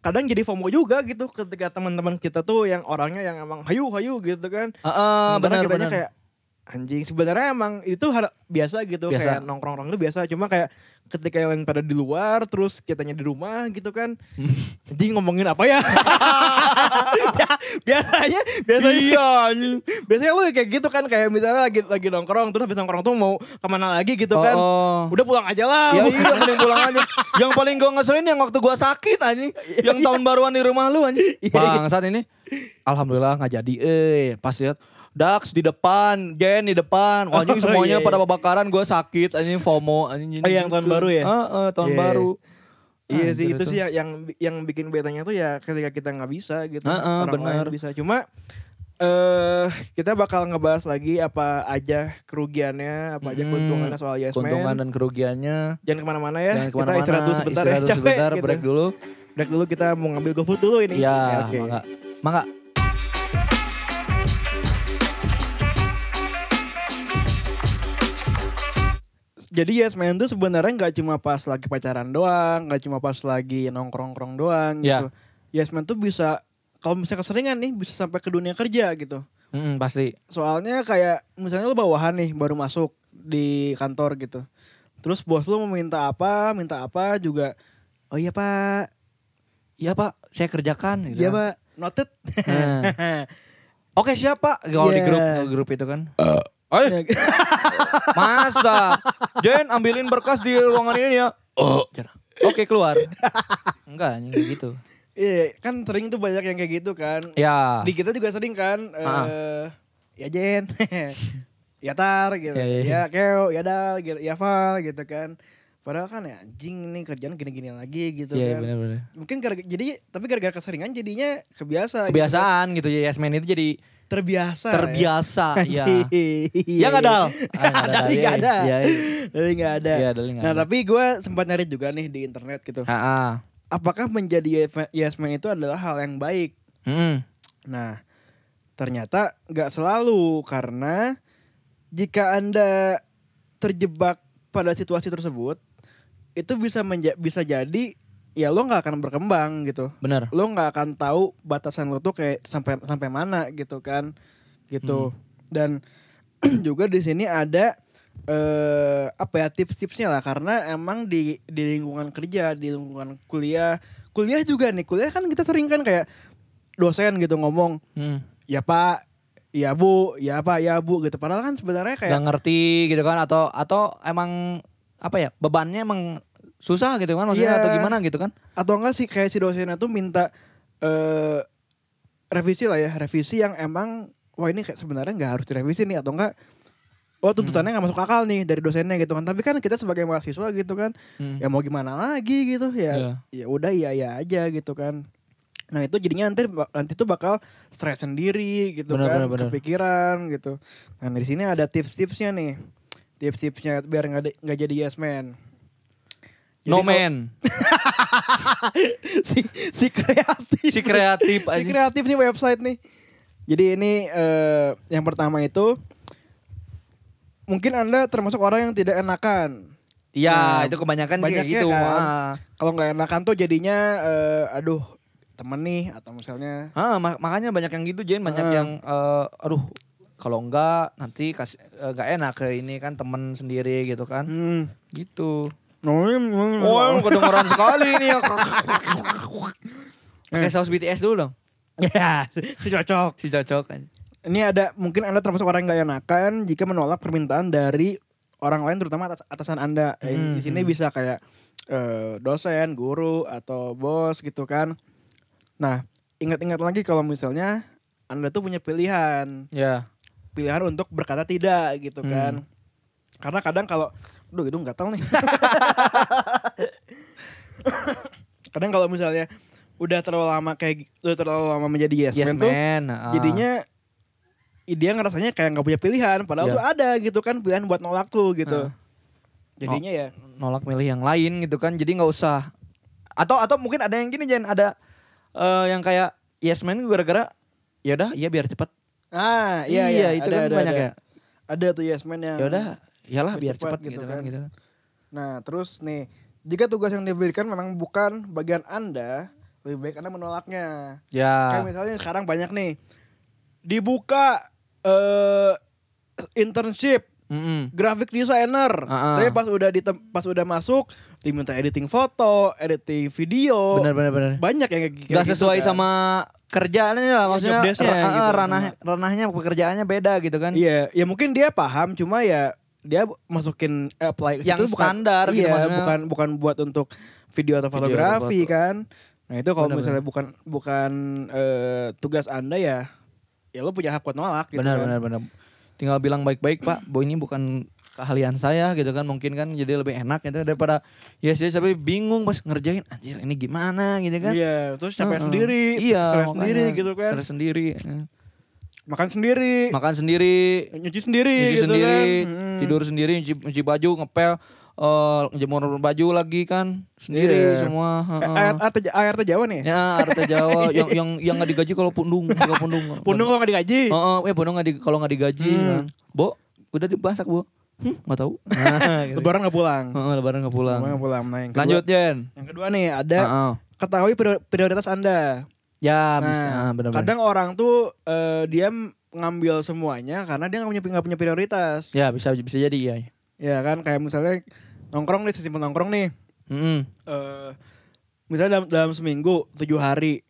Speaker 2: kadang jadi FOMO juga gitu ketika teman-teman kita tuh yang orangnya yang emang hayu hayu gitu kan.
Speaker 1: Heeh,
Speaker 2: Sementara
Speaker 1: benar
Speaker 2: kitanya
Speaker 1: benar.
Speaker 2: kayak anjing sebenarnya emang itu hal biasa gitu
Speaker 1: Biasa.
Speaker 2: kayak nongkrong-nongkrong itu biasa cuma kayak ketika yang lain pada di luar terus kitanya di rumah gitu kan anjing ngomongin apa ya biasanya biasanya
Speaker 1: Iya anjing.
Speaker 2: biasanya lu kayak gitu kan kayak misalnya lagi lagi nongkrong terus habis nongkrong tuh mau kemana lagi gitu kan
Speaker 1: Oh, oh.
Speaker 2: udah pulang aja lah
Speaker 1: Ya iya mending pulang aja. Yang paling gue ngeselin yang waktu gue sakit anjing.
Speaker 2: Iya,
Speaker 1: Yang tahun baruan di rumah lu anjing. Bang saat ini. Alhamdulillah nggak jadi. Eh pas lihat Dax di depan, Jen di depan, Oh, anjing
Speaker 2: Oh, iya,
Speaker 1: semuanya
Speaker 2: iya.
Speaker 1: pada babakaran, gue sakit, anjing FOMO, anjing. gitu.
Speaker 2: Oh, yang tahun baru ya?
Speaker 1: Heeh, tahun
Speaker 2: Iya.
Speaker 1: baru.
Speaker 2: Iya
Speaker 1: Ah, Anjir
Speaker 2: sih itu sih yang yang, yang bikin betanya tuh ya ketika kita nggak bisa gitu
Speaker 1: Heeh,
Speaker 2: orang lain
Speaker 1: bener.
Speaker 2: bisa cuma eh kita bakal ngebahas lagi apa aja kerugiannya apa aja
Speaker 1: Mm,
Speaker 2: keuntungannya soal yes Man.
Speaker 1: Keuntungan dan kerugiannya.
Speaker 2: Jangan kemana-mana ya
Speaker 1: Jangan
Speaker 2: kita
Speaker 1: kemana-mana,
Speaker 2: istirahat dulu sebentar
Speaker 1: istirahat
Speaker 2: ya
Speaker 1: dulu
Speaker 2: capek
Speaker 1: sebentar,
Speaker 2: gitu.
Speaker 1: break dulu.
Speaker 2: Break dulu kita mau ngambil GoFood dulu ini.
Speaker 1: Iya,
Speaker 2: Ya, oke.
Speaker 1: mangga. Mangga.
Speaker 2: Jadi yes man tuh sebenarnya nggak cuma pas lagi pacaran doang, nggak cuma pas lagi nongkrong-nongkrong doang
Speaker 1: Iya.
Speaker 2: gitu. Yes man tuh bisa kalau misalnya keseringan nih bisa sampai ke dunia kerja gitu.
Speaker 1: Mm-mm, pasti.
Speaker 2: soalnya kayak misalnya lu bawahan nih baru masuk di kantor gitu terus bos lu mau minta apa minta apa juga oh iya pak
Speaker 1: Iya pak, saya kerjakan. gitu
Speaker 2: iya
Speaker 1: kan.
Speaker 2: pak noted
Speaker 1: Nah. Oke siapa? Kalau di
Speaker 2: Iya.
Speaker 1: grup grup itu kan.
Speaker 2: Ya
Speaker 1: Eh,
Speaker 2: kan?
Speaker 1: masa? Jen ambilin berkas di ruangan ini ya. Oh. Oke keluar. Enggak, anjing, kayak gitu.
Speaker 2: iya kan sering tuh banyak yang kayak gitu kan
Speaker 1: Ya.
Speaker 2: di kita juga sering kan eh
Speaker 1: Ah.
Speaker 2: ya Jen ya Tar gitu
Speaker 1: Ya,
Speaker 2: ya,
Speaker 1: ya,
Speaker 2: Keo ya Dal gitu ya Val gitu kan padahal kan ya anjing nih kerjaan gini-gini lagi gitu
Speaker 1: Iya
Speaker 2: kan
Speaker 1: benar-benar.
Speaker 2: mungkin gara jadi tapi gara-gara keseringan jadinya kebiasa gitu.
Speaker 1: Kebiasaan gitu ya yes man itu jadi
Speaker 2: terbiasa ya.
Speaker 1: terbiasa. Iya.
Speaker 2: Iya
Speaker 1: Ya nggak, Dal? Ah, nggak ada,
Speaker 2: Ada sih
Speaker 1: iya,
Speaker 2: nggak ada.
Speaker 1: iya, iya.
Speaker 2: Dari nggak ada.
Speaker 1: Iya, dari nggak
Speaker 2: Nah
Speaker 1: ada.
Speaker 2: tapi gue sempat nyari juga nih di internet gitu.
Speaker 1: Heeh.
Speaker 2: Apakah menjadi yes man itu adalah hal yang baik?
Speaker 1: Heeh.
Speaker 2: Nah ternyata nggak selalu karena jika anda terjebak pada situasi tersebut itu bisa menja- bisa jadi ya lo nggak akan berkembang gitu
Speaker 1: Benar.
Speaker 2: lo nggak akan tahu batasan lo tuh kayak sampai sampai mana gitu kan gitu dan juga di sini ada eh apa ya tips-tipsnya lah karena emang di di lingkungan kerja di lingkungan kuliah kuliah juga nih kuliah kan kita sering kan kayak dosen gitu ngomong
Speaker 1: Heeh.
Speaker 2: ya pak ya bu ya pak ya bu gitu padahal kan sebenarnya kayak
Speaker 1: Gak ngerti gitu kan atau atau emang apa ya bebannya emang susah gitu kan
Speaker 2: Iya.
Speaker 1: maksudnya atau gimana gitu kan?
Speaker 2: atau enggak sih kayak si dosennya tuh minta eh revisi lah ya revisi yang emang wah ini kayak sebenarnya nggak harus direvisi nih atau enggak Oh tuntutannya
Speaker 3: Hmm.
Speaker 2: nggak masuk akal nih dari dosennya gitu kan tapi kan kita sebagai mahasiswa gitu kan
Speaker 3: Hmm.
Speaker 2: ya mau gimana lagi gitu ya ya udah iya iya aja gitu kan nah itu jadinya nanti nanti tuh bakal stres sendiri gitu
Speaker 3: Benar,
Speaker 2: kan
Speaker 3: benar, benar.
Speaker 2: kepikiran gitu nah di sini ada tips-tipsnya nih tips-tipsnya biar nggak ada- nggak jadi yes man
Speaker 1: No
Speaker 2: Jadi kalau-
Speaker 1: man,
Speaker 2: si si kreatif
Speaker 1: si kreatif
Speaker 2: si
Speaker 1: aja.
Speaker 2: kreatif nih website nih. Jadi ini eh, yang pertama itu mungkin Anda termasuk orang yang tidak enakan.
Speaker 1: Iya, itu kebanyakan
Speaker 2: Nah,
Speaker 1: sih kayak
Speaker 2: Banyaknya
Speaker 1: gitu.
Speaker 2: kan.
Speaker 1: Ah.
Speaker 2: Kalau nggak enakan tuh jadinya eh, aduh, temen nih atau misalnya
Speaker 1: Ah, mak- makanya banyak yang gitu Jen, banyak
Speaker 2: Ah.
Speaker 1: yang eh, aduh kalau enggak nanti kas eh, nggak enak ke ini kan temen sendiri gitu kan.
Speaker 2: hmm,
Speaker 1: Gitu. Oh,
Speaker 2: oh,
Speaker 1: kedengeran sekali ini ya. Pakai saus BTS dulu dong.
Speaker 2: ya, cocok.
Speaker 1: Si cocok kan.
Speaker 2: Ini ada mungkin Anda termasuk orang yang nggak enakan jika menolak permintaan dari orang lain terutama atas atasan Anda. Ya,
Speaker 1: Hmm,
Speaker 2: Di sini
Speaker 1: hmm.
Speaker 2: bisa kayak eh, dosen, guru atau bos gitu kan. Nah, ingat-ingat lagi kalau misalnya Anda tuh punya pilihan,
Speaker 1: Ya.
Speaker 2: pilihan untuk berkata tidak gitu
Speaker 1: Hmm.
Speaker 2: kan. Karena kadang kalau aduh itu nggak tahu nih. kadang kalau misalnya udah terlalu lama kayak udah terlalu lama menjadi yes,
Speaker 1: Yes,
Speaker 2: man tuh
Speaker 1: man. Ah.
Speaker 2: jadinya i- dia ngerasanya kayak nggak punya pilihan padahal
Speaker 1: Iya. Ah.
Speaker 2: tuh ada gitu kan pilihan buat nolak tuh gitu jadinya
Speaker 1: Oh.
Speaker 2: ya
Speaker 1: nolak milih yang lain gitu kan. Jadi nggak usah. Atau atau mungkin ada yang gini Jen, ada eh, yang kayak yes man gara-gara ya udah iya biar cepat.
Speaker 2: ah iya,
Speaker 1: Iya,
Speaker 2: iya,
Speaker 1: itu kan banyak
Speaker 2: ada.
Speaker 1: ya.
Speaker 2: ada tuh yes man yang
Speaker 1: Ya udah iyalah biar
Speaker 2: Biar cepat
Speaker 1: cepat gitu,
Speaker 2: gitu
Speaker 1: kan,
Speaker 2: kan.
Speaker 1: gitu kan.
Speaker 2: nah terus nih jika tugas yang diberikan memang bukan bagian anda lebih baik anda menolaknya
Speaker 1: Ya.
Speaker 2: kayak misalnya sekarang banyak nih dibuka eh internship
Speaker 1: Mm-mm.
Speaker 2: graphic designer.
Speaker 1: Ah, ah.
Speaker 2: Tapi pas udah di pas udah masuk diminta editing foto, editing video.
Speaker 1: Benar benar benar.
Speaker 2: Banyak yang Oh, kayak gitu kan.
Speaker 1: Gak sesuai sama kerjaannya lah maksudnya
Speaker 2: job desk-nya
Speaker 1: ra-
Speaker 2: gitu.
Speaker 1: ranah ranahnya pekerjaannya beda gitu kan.
Speaker 2: Iya, ya mungkin dia paham cuma ya dia masukin eh, apply ke
Speaker 1: Yang
Speaker 2: situ
Speaker 1: standar gitu
Speaker 2: iya,
Speaker 1: maksudnya.
Speaker 2: bukan bukan buat untuk video atau
Speaker 1: Video
Speaker 2: fotografi
Speaker 1: atau foto.
Speaker 2: kan. Nah, itu kalau
Speaker 1: Benar,
Speaker 2: misalnya bukan bukan eh, tugas Anda ya ya lo punya hak buat nolak gitu
Speaker 1: benar
Speaker 2: kan.
Speaker 1: benar benar. Tinggal bilang baik-baik, Pak. Bu ini bukan keahlian saya gitu kan. Mungkin kan jadi lebih enak gitu daripada yes yes tapi bingung pas ngerjain anjir ini gimana gitu kan.
Speaker 2: Iya, terus capek
Speaker 1: Heeh.
Speaker 2: sendiri,
Speaker 1: iya,
Speaker 2: stres
Speaker 1: makanya.
Speaker 2: sendiri gitu kan. Iya.
Speaker 1: Stres sendiri.
Speaker 2: Makan sendiri,
Speaker 1: Makan sendiri,
Speaker 2: nyuci sendiri
Speaker 1: nyuci
Speaker 2: gitu
Speaker 1: sendiri,
Speaker 2: kan. Mm.
Speaker 1: tidur sendiri, nyuci, nyuci baju, ngepel, eh jemur baju lagi kan sendiri
Speaker 2: Iya.
Speaker 1: semua.
Speaker 2: Eh,
Speaker 1: heeh.
Speaker 2: ART, ART, ART Jawa nih.
Speaker 1: Ya, Arta Jawa yang yang yang nggak digaji kalau pundung, kalau pundung.
Speaker 2: Pundung Hmm. kok gak digaji.
Speaker 1: Heeh, eh pundung nggak di, kalau nggak digaji kan. Bo, udah dibasak, Bo. Hmm, nggak tahu. Nah, gitu.
Speaker 2: Lebaran gak pulang.
Speaker 1: Heeh, lebaran nggak pulang.
Speaker 2: Lebaran gak pulang. Nah, yang kedua,
Speaker 1: Lanjut, Jen.
Speaker 2: Yang kedua nih ada
Speaker 1: Heeh.
Speaker 2: ketahui prior- prioritas Anda.
Speaker 1: Ya, bisa
Speaker 2: Nah,
Speaker 1: benar-benar.
Speaker 2: kadang orang tuh eh, dia m- ngambil semuanya karena dia gak punya, nggak punya prioritas.
Speaker 1: Ya, bisa bisa jadi ya.
Speaker 2: Ya kan kayak misalnya nongkrong nih, sesimpel nongkrong nih.
Speaker 1: Heeh.
Speaker 2: eh misalnya dalam, dalam seminggu tujuh hari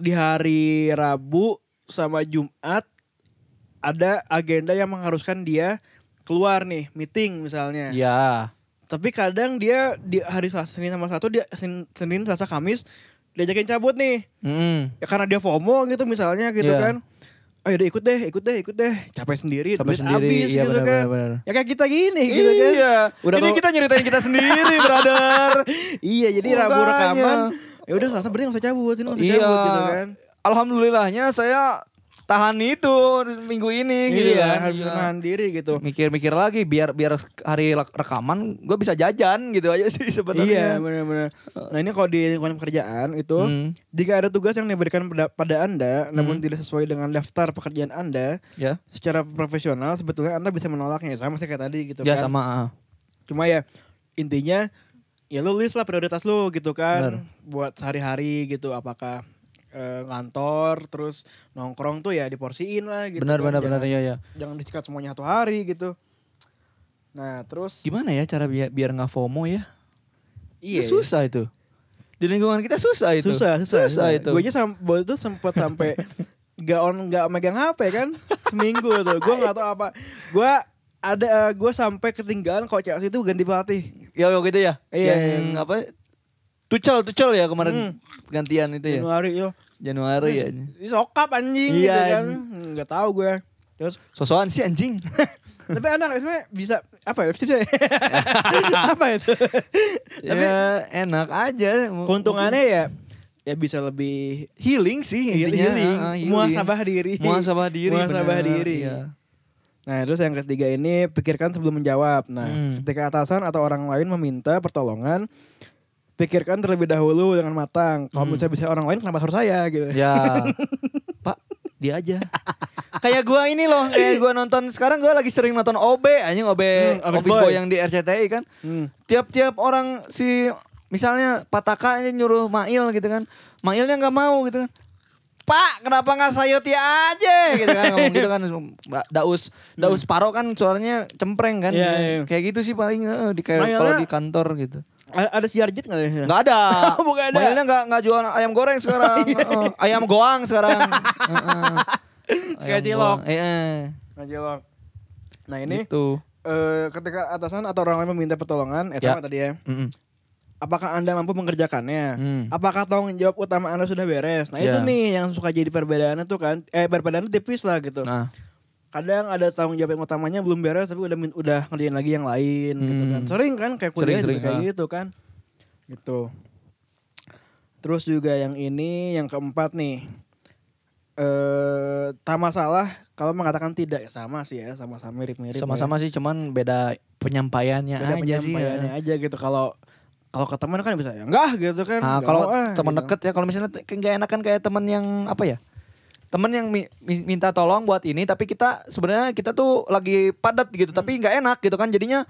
Speaker 2: di hari Rabu sama Jumat ada agenda yang mengharuskan dia keluar nih meeting misalnya
Speaker 1: Ya.
Speaker 2: tapi kadang dia di hari Selasa- Senin sama satu dia Senin, Senin Selasa Kamis diajakin cabut nih
Speaker 1: Heeh.
Speaker 2: ya karena dia FOMO gitu misalnya gitu
Speaker 1: Iya.
Speaker 2: kan ayo udah ikut deh ikut deh ikut deh capek sendiri
Speaker 1: Capek
Speaker 2: duit
Speaker 1: sendiri,
Speaker 2: habis
Speaker 1: iya,
Speaker 2: gitu kan
Speaker 1: benar, benar, benar. Iya.
Speaker 2: ya kayak kita gini gitu kan Udah
Speaker 1: ini
Speaker 2: kalau-
Speaker 1: kita nyeritain kita sendiri, brother.
Speaker 2: iya jadi Rabu
Speaker 1: Makanya.
Speaker 2: rekaman ya udah Selasa berarti nggak usah cabut Senin nggak usah
Speaker 1: iya.
Speaker 2: cabut gitu kan
Speaker 1: Alhamdulillahnya saya tahan itu minggu ini gitu
Speaker 2: iya,
Speaker 1: kan.
Speaker 2: harus
Speaker 1: Iya.
Speaker 2: menahan diri gitu
Speaker 1: mikir-mikir lagi biar biar hari lek- rekaman gue bisa jajan gitu aja
Speaker 2: iya
Speaker 1: sih sebenarnya.
Speaker 2: benar-benar nah ini kalau di lingkungan pekerjaan itu
Speaker 1: Hmm.
Speaker 2: jika ada tugas yang diberikan pada, pada anda namun tidak sesuai dengan daftar pekerjaan anda
Speaker 1: Ya.
Speaker 2: secara profesional sebetulnya anda bisa menolaknya sama sih kayak tadi gitu
Speaker 1: Ya
Speaker 2: kan
Speaker 1: sama. ah.
Speaker 2: cuma ya intinya ya lu list lah prioritas lu gitu
Speaker 1: Benar.
Speaker 2: kan buat sehari-hari gitu apakah eh, kantor terus nongkrong tuh ya diporsiin lah gitu
Speaker 1: benar
Speaker 2: kan.
Speaker 1: benar benar
Speaker 2: jangan,
Speaker 1: ya ya.
Speaker 2: jangan disikat semuanya satu hari gitu nah terus
Speaker 1: Gimana ya cara biar biar nggak FOMO ya?
Speaker 2: iya
Speaker 1: Itu susah itu. Di lingkungan kita susah itu.
Speaker 2: susah susah, susah.
Speaker 1: itu.
Speaker 2: gue aja sam- waktu itu sempat sampai gak on gak megang HP kan seminggu tuh gue nggak tahu apa gue ada gue sampai ketinggalan kalau Chelsea itu ganti pelatih
Speaker 1: Ya ya, gitu ya.
Speaker 2: Iya, Hmm.
Speaker 1: Yang apa? Tuchel Tuchel ya kemarin gantian itu ya.
Speaker 2: Januari yo
Speaker 1: Januari ya.
Speaker 2: Ini sokap anjing
Speaker 1: Iya,
Speaker 2: gitu kan.
Speaker 1: anjing.
Speaker 2: Enggak tahu gue. Terus
Speaker 1: Sosokan sih anjing.
Speaker 2: tapi enak sebenarnya bisa apa ya? tipsnya? apa itu?
Speaker 1: Tapi Ya, enak aja.
Speaker 2: Keuntungannya ya ya bisa lebih
Speaker 1: healing sih intinya.
Speaker 2: healing,
Speaker 1: Ah, ah,
Speaker 2: muasabah diri.
Speaker 1: Muasabah diri.
Speaker 2: Muasabah
Speaker 1: bener,
Speaker 2: diri.
Speaker 1: iya.
Speaker 2: Nah, terus yang ketiga ini pikirkan sebelum menjawab. Nah,
Speaker 1: Hmm.
Speaker 2: ketika atasan atau orang lain meminta pertolongan, pikirkan terlebih dahulu dengan matang. Kalau misalnya bisa orang lain kenapa harus saya gitu.
Speaker 1: Hmm. Ya. Pak, dia aja. kayak gua ini loh, kayak gua nonton sekarang gua lagi sering nonton OB anjing OB
Speaker 2: Hmm, Office
Speaker 1: Office
Speaker 2: Boy.
Speaker 1: Boy. yang di RCTI kan.
Speaker 2: Hmm.
Speaker 1: Tiap-tiap orang si misalnya Pataka ini nyuruh Mail gitu kan. Mailnya nggak mau gitu kan. Pak, kenapa nggak sayuti aja gitu kan ngomong gitu kan Ba- Daus Daus Paro kan suaranya cempreng kan.
Speaker 2: Iya, iya.
Speaker 1: Kayak gitu sih paling eh, di
Speaker 2: Mailnya-
Speaker 1: kalau di kantor gitu.
Speaker 2: A- Ada si Arjit enggak ya?
Speaker 1: Enggak ada.
Speaker 2: Bukan ada. Iya,
Speaker 1: Mailnya enggak enggak jual ayam goreng sekarang. Heeh. ayam goang sekarang. Heeh.
Speaker 2: Kayak
Speaker 1: Ayam
Speaker 2: cilok.
Speaker 1: goang. Gitu. Iya.
Speaker 2: Ngajelok. Nah, ini
Speaker 1: Ini tuh.
Speaker 2: eh, ketika atasan atau orang lain meminta pertolongan, eh, sama
Speaker 1: Ya.
Speaker 2: tadi ya. Apakah Anda mampu mengerjakannya?
Speaker 1: Hmm.
Speaker 2: Apakah tanggung jawab utama Anda sudah beres? Nah, itu
Speaker 1: Ya.
Speaker 2: nih yang suka jadi perbedaannya tuh kan. Eh, perbedaannya tipis lah gitu.
Speaker 1: Nah,
Speaker 2: kadang ada tanggung jawab yang utamanya belum beres tapi udah min- udah ngerjain lagi yang lain gitu
Speaker 1: Hmm.
Speaker 2: kan sering kan kayak kuliah
Speaker 1: Sering, sering,
Speaker 2: juga kayak
Speaker 1: ah.
Speaker 2: gitu kan gitu terus juga yang ini yang keempat nih eh tak masalah kalau mengatakan tidak ya sama sih ya sama-sama mirip-mirip ya.
Speaker 1: sama-sama sih cuman beda penyampaiannya
Speaker 2: Beda
Speaker 1: aja sih. ya.
Speaker 2: penyampaiannya aja gitu kalau kalau ke teman kan bisa ya enggak gitu kan
Speaker 1: Nah,
Speaker 2: Nggak
Speaker 1: kalau
Speaker 2: mau, ah,
Speaker 1: teman
Speaker 2: gitu.
Speaker 1: deket ya kalau misalnya kayak nggak enakan kayak teman yang apa ya? Temen yang mi- mi- minta tolong buat ini tapi kita sebenarnya kita tuh lagi padat gitu tapi nggak enak gitu kan jadinya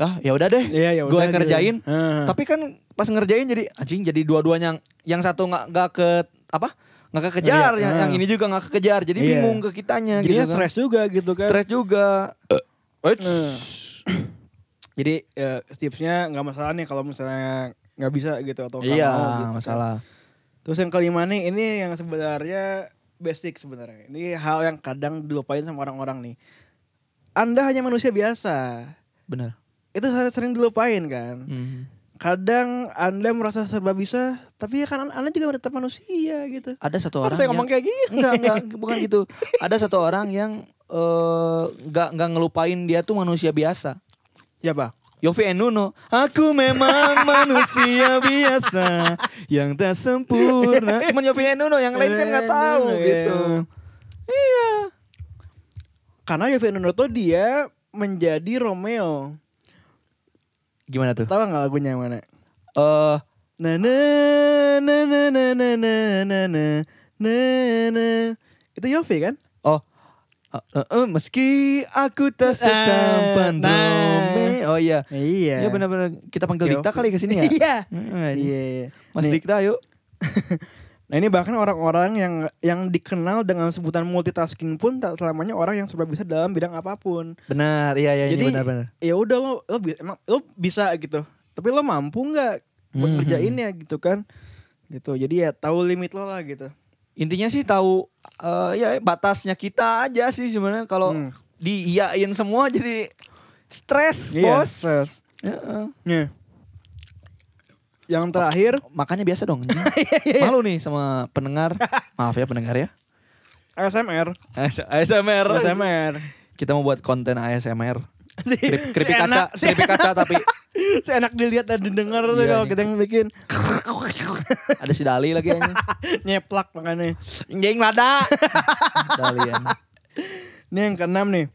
Speaker 1: ah ya udah deh
Speaker 2: Hmm. Iya, ya
Speaker 1: gue
Speaker 2: udah
Speaker 1: yang
Speaker 2: gitu.
Speaker 1: kerjain
Speaker 2: Heeh.
Speaker 1: tapi kan pas ngerjain jadi anjing jadi dua-duanya yang yang satu nggak nggak ke apa nggak kekejar
Speaker 2: Iya,
Speaker 1: yang,
Speaker 2: ah.
Speaker 1: yang ini juga nggak kekejar jadi
Speaker 2: Iya.
Speaker 1: bingung ke kitanya
Speaker 2: jadinya
Speaker 1: gitu kan.
Speaker 2: stres juga gitu kan
Speaker 1: stres juga
Speaker 2: Eh. Jadi eh, tipsnya nggak masalah nih kalau misalnya nggak bisa gitu atau nggak
Speaker 1: iya
Speaker 2: mau gitu. kan.
Speaker 1: masalah
Speaker 2: Terus yang kelima nih ini yang sebenarnya basic sebenarnya. Ini hal yang kadang dilupain sama orang-orang nih. Anda hanya manusia biasa.
Speaker 1: bener Hmm.
Speaker 2: Itu sering- sering dilupain kan. Kadang Anda merasa serba bisa, tapi ya kan Anda juga tetap manusia gitu.
Speaker 1: ada satu
Speaker 2: Orang
Speaker 1: orang
Speaker 2: saya
Speaker 1: yang-
Speaker 2: ngomong kayak gini.
Speaker 1: enggak enggak bukan gitu ada satu orang yang eh, nggak nggak ngelupain dia tuh manusia biasa
Speaker 2: Ya, Pak.
Speaker 1: Yofi and Nuno Aku memang manusia biasa Yang tak sempurna Cuman Yofi and Nuno Yang lain kan gak tahu
Speaker 2: Nuno,
Speaker 1: gitu
Speaker 2: iya. Karena Yovie Nunoto dia menjadi Romeo.
Speaker 1: Gimana tuh?
Speaker 2: Tahu nggak lagunya yang mana?
Speaker 1: Eh,
Speaker 2: Na na na na na na na na na na na itu Yofi kan?
Speaker 1: Oh Eh, eh, eh, Meski aku tak
Speaker 2: Eh,
Speaker 1: setampan
Speaker 2: nah.
Speaker 1: Romeo Oh iya
Speaker 2: Iya.
Speaker 1: Iya benar-benar kita panggil
Speaker 2: Yofi.
Speaker 1: Dikta kali ke sini ya.
Speaker 2: Iya.
Speaker 1: Heeh, ini.
Speaker 2: Iya. iya.
Speaker 1: Mas
Speaker 2: Nih,
Speaker 1: Dikta yuk.
Speaker 2: Nah ini bahkan orang-orang yang yang dikenal dengan sebutan multitasking pun tak selamanya orang yang serba bisa dalam bidang apapun.
Speaker 1: Benar, iya iya
Speaker 2: Jadi
Speaker 1: ini benar-benar.
Speaker 2: ya udah lo lo bi- emang lo bisa gitu. Tapi lo mampu nggak buat
Speaker 1: Mhm.
Speaker 2: ngerjainnya gitu kan? Gitu. Jadi ya tahu limit lo lah gitu.
Speaker 1: Intinya sih tahu eh, ya batasnya kita aja sih sebenarnya kalau
Speaker 2: Hmm.
Speaker 1: diiyain semua jadi stres,
Speaker 2: Iya,
Speaker 1: Bos.
Speaker 2: stres.
Speaker 1: Heeh.
Speaker 2: Nih. Yang terakhir
Speaker 1: Makanya biasa dong. anjing. Malu nih sama pendengar. Maaf ya pendengar ya.
Speaker 2: ASMR.
Speaker 1: ASMR.
Speaker 2: ASMR.
Speaker 1: Kita mau buat konten ASMR.
Speaker 2: Si-
Speaker 1: Krip,
Speaker 2: si
Speaker 1: keripik kaca,
Speaker 2: enak- si
Speaker 1: keripik kaca tapi
Speaker 2: Seenak dilihat dan didengar tuh
Speaker 1: Iya
Speaker 2: kalau
Speaker 1: nih.
Speaker 2: kita yang bikin
Speaker 1: ada si Dali lagi anjing.
Speaker 2: nyeplak makanya.
Speaker 1: Anjing lada. Dali anjing.
Speaker 2: Ini yang keenam nih.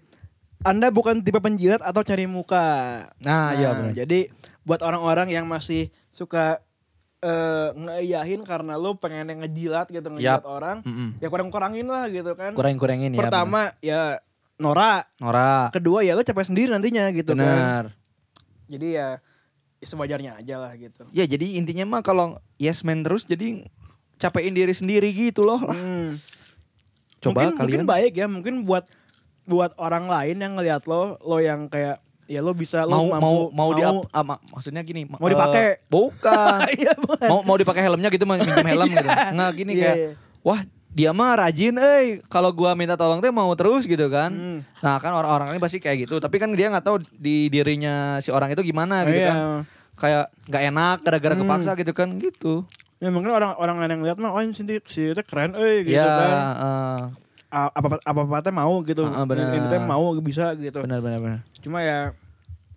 Speaker 2: Anda bukan tipe penjilat atau cari muka.
Speaker 1: Nah, iya benar.
Speaker 2: Jadi buat orang-orang yang masih suka eh ngeiyahin karena lu pengen yang ngejilat gitu ngejilat
Speaker 1: Yap.
Speaker 2: orang,
Speaker 1: Mm-mm.
Speaker 2: ya kurang-kurangin lah gitu kan.
Speaker 1: Kurang-kurangin ya.
Speaker 2: Pertama ya Nora,
Speaker 1: bener. Nora.
Speaker 2: kedua ya lu capek sendiri nantinya gitu kan.
Speaker 1: Benar.
Speaker 2: Jadi ya sewajarnya aja lah gitu.
Speaker 1: Ya jadi intinya mah kalau yes man terus jadi capein diri sendiri gitu loh. lah.
Speaker 2: Hmm. mungkin,
Speaker 1: Coba kalian.
Speaker 2: mungkin baik ya mungkin buat buat orang lain yang ngelihat lo lo yang kayak ya lo bisa lo
Speaker 1: mau
Speaker 2: mampu,
Speaker 1: mau mau di up- ah, ma- maksudnya gini ma-
Speaker 2: Mau dipakai.
Speaker 1: eh, bukan
Speaker 2: Iya, bukan.
Speaker 1: mau mau dipakai helmnya gitu mau minjem helm gitu nggak gini
Speaker 2: Iya,
Speaker 1: kayak
Speaker 2: iya.
Speaker 1: wah dia mah rajin eh kalau gua minta tolong teh mau terus gitu kan
Speaker 2: Hmm.
Speaker 1: nah kan orang-orang ini pasti kayak gitu tapi kan dia nggak tahu di dirinya si orang itu gimana gitu
Speaker 2: Iya. Hmm.
Speaker 1: kan kayak nggak enak gara-gara kepaksa gitu kan gitu
Speaker 2: ya mungkin orang-orang lain yang lihat mah oh ini si si itu keren eh gitu
Speaker 1: Iya,
Speaker 2: kan
Speaker 1: eh,
Speaker 2: A- apa apa apa teh mau gitu
Speaker 1: Ah, ah, bener.
Speaker 2: ini teh mau bisa gitu
Speaker 1: benar benar benar.
Speaker 2: cuma ya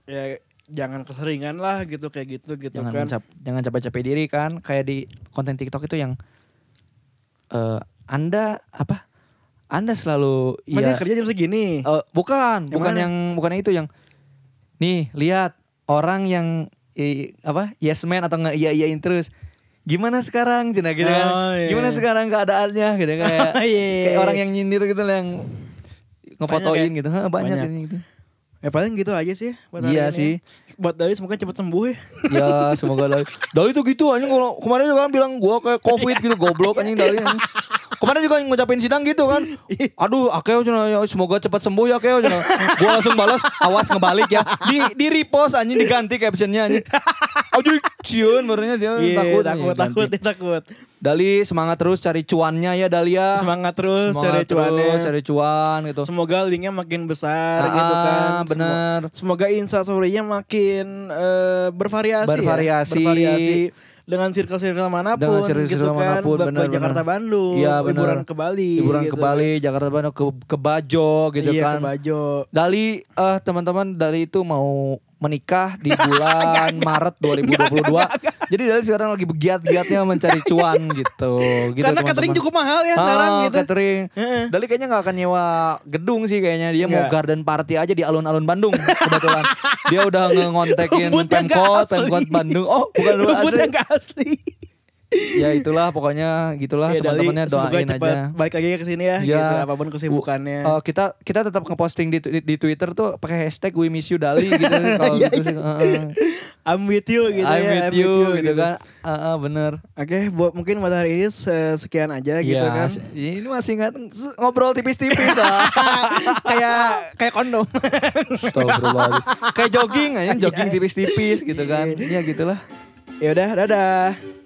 Speaker 2: ya jangan keseringan lah gitu kayak gitu gitu
Speaker 1: jangan
Speaker 2: kan
Speaker 1: mencap- jangan capek-capek diri kan kayak di konten TikTok itu yang eh anda apa anda selalu
Speaker 2: Makanya
Speaker 1: iya
Speaker 2: kerja jam segini
Speaker 1: Eh, bukan
Speaker 2: Yang
Speaker 1: bukan
Speaker 2: mana?
Speaker 1: yang bukan yang itu yang nih lihat orang yang i- apa yes man atau nggak iya iyain terus gimana sekarang cina gitu kan
Speaker 2: Oh, iya,
Speaker 1: gimana
Speaker 2: iya.
Speaker 1: sekarang keadaannya gitu kayak
Speaker 2: Iya, iya,
Speaker 1: kayak
Speaker 2: iya.
Speaker 1: orang yang nyindir gitu lah, yang ngefotoin
Speaker 2: Banyak ya?
Speaker 1: gitu Hah, banyak,
Speaker 2: Banyak.
Speaker 1: ini, gitu
Speaker 2: ya paling gitu aja sih buat hari
Speaker 1: Iya
Speaker 2: ini.
Speaker 1: sih.
Speaker 2: buat Dai semoga cepet sembuh ya
Speaker 1: Ya semoga lah. Dali tuh gitu anjing kalau kemarin juga kan bilang gua kayak covid gitu goblok anjing Dali. anjing. Kemarin juga ngucapin sidang gitu kan. Aduh, Akeo cina, ya, semoga cepat sembuh ya Akeo. cina. Gua langsung balas, awas ngebalik ya. Di di repost anjing diganti captionnya anjing. Aduh, cion barunya dia
Speaker 2: Iya, takut
Speaker 1: takut. Ya, ganti.
Speaker 2: takut ya, takut
Speaker 1: Dali semangat terus cari cuannya ya Dalia.
Speaker 2: semangat terus cari cuannya
Speaker 1: cari cuan gitu.
Speaker 2: semoga linknya makin besar gitu
Speaker 1: Ah,
Speaker 2: kan Semo-
Speaker 1: bener.
Speaker 2: semoga instastorynya makin eh, bervariasi ya.
Speaker 1: Bervariasi.
Speaker 2: bervariasi dengan circle-circle manapun
Speaker 1: Dengan
Speaker 2: gitu
Speaker 1: circle-circle
Speaker 2: kan
Speaker 1: manapun,
Speaker 2: Ba-
Speaker 1: bener,
Speaker 2: ba- Jakarta
Speaker 1: bener.
Speaker 2: Bandung
Speaker 1: Iya, bener.
Speaker 2: liburan ke Bali
Speaker 1: Liburan
Speaker 2: gitu
Speaker 1: ke Bali, Jakarta Bandung ke ke Bajo gitu
Speaker 2: iya,
Speaker 1: kan.
Speaker 2: ke Bajo
Speaker 1: Dali eh teman-teman Dali itu mau menikah di bulan Maret 2022. Jadi Dali sekarang lagi begiat-giatnya mencari cuan gitu. gitu
Speaker 2: karena catering cukup mahal ya sekarang gitu
Speaker 1: Catering.
Speaker 2: Heeh.
Speaker 1: Dali kayaknya nggak akan nyewa gedung sih kayaknya. Dia mau
Speaker 2: Nggak.
Speaker 1: garden party aja di alun-alun Bandung kebetulan. Dia udah ngontekin
Speaker 2: Rumputnya nggak
Speaker 1: Pemkot,
Speaker 2: asli.
Speaker 1: Pemkot Bandung. Oh, bukan lu
Speaker 2: rumputnya
Speaker 1: asli.
Speaker 2: nggak asli
Speaker 1: Ya itulah pokoknya gitulah
Speaker 2: Ya, Dali,
Speaker 1: teman-temannya
Speaker 2: semoga
Speaker 1: doain
Speaker 2: cepat
Speaker 1: aja.
Speaker 2: balik lagi ke sini ya,
Speaker 1: Ya.
Speaker 2: gitu apapun kesibukannya
Speaker 1: Uh, kita kita tetap ngeposting di, di, di Twitter tuh pakai hashtag we miss you Dali gitu kalau gitu sih. uh-uh.
Speaker 2: I'm with you Iya, gitu
Speaker 1: I'm
Speaker 2: ya
Speaker 1: with
Speaker 2: I'm
Speaker 1: you gitu kan. Uh-uh, bener.
Speaker 2: Oke, buat mungkin buat hari ini se- sekian aja gitu
Speaker 1: Iya,
Speaker 2: kan.
Speaker 1: s- Ini masih nggak ngobrol tipis-tipis ah. lah.
Speaker 2: kayak kayak kondom.
Speaker 1: Astagfirullah.
Speaker 2: Iya,
Speaker 1: Kayak jogging aja, jogging tipis-tipis gitu kan. Iya gitulah.
Speaker 2: ya udah, dadah.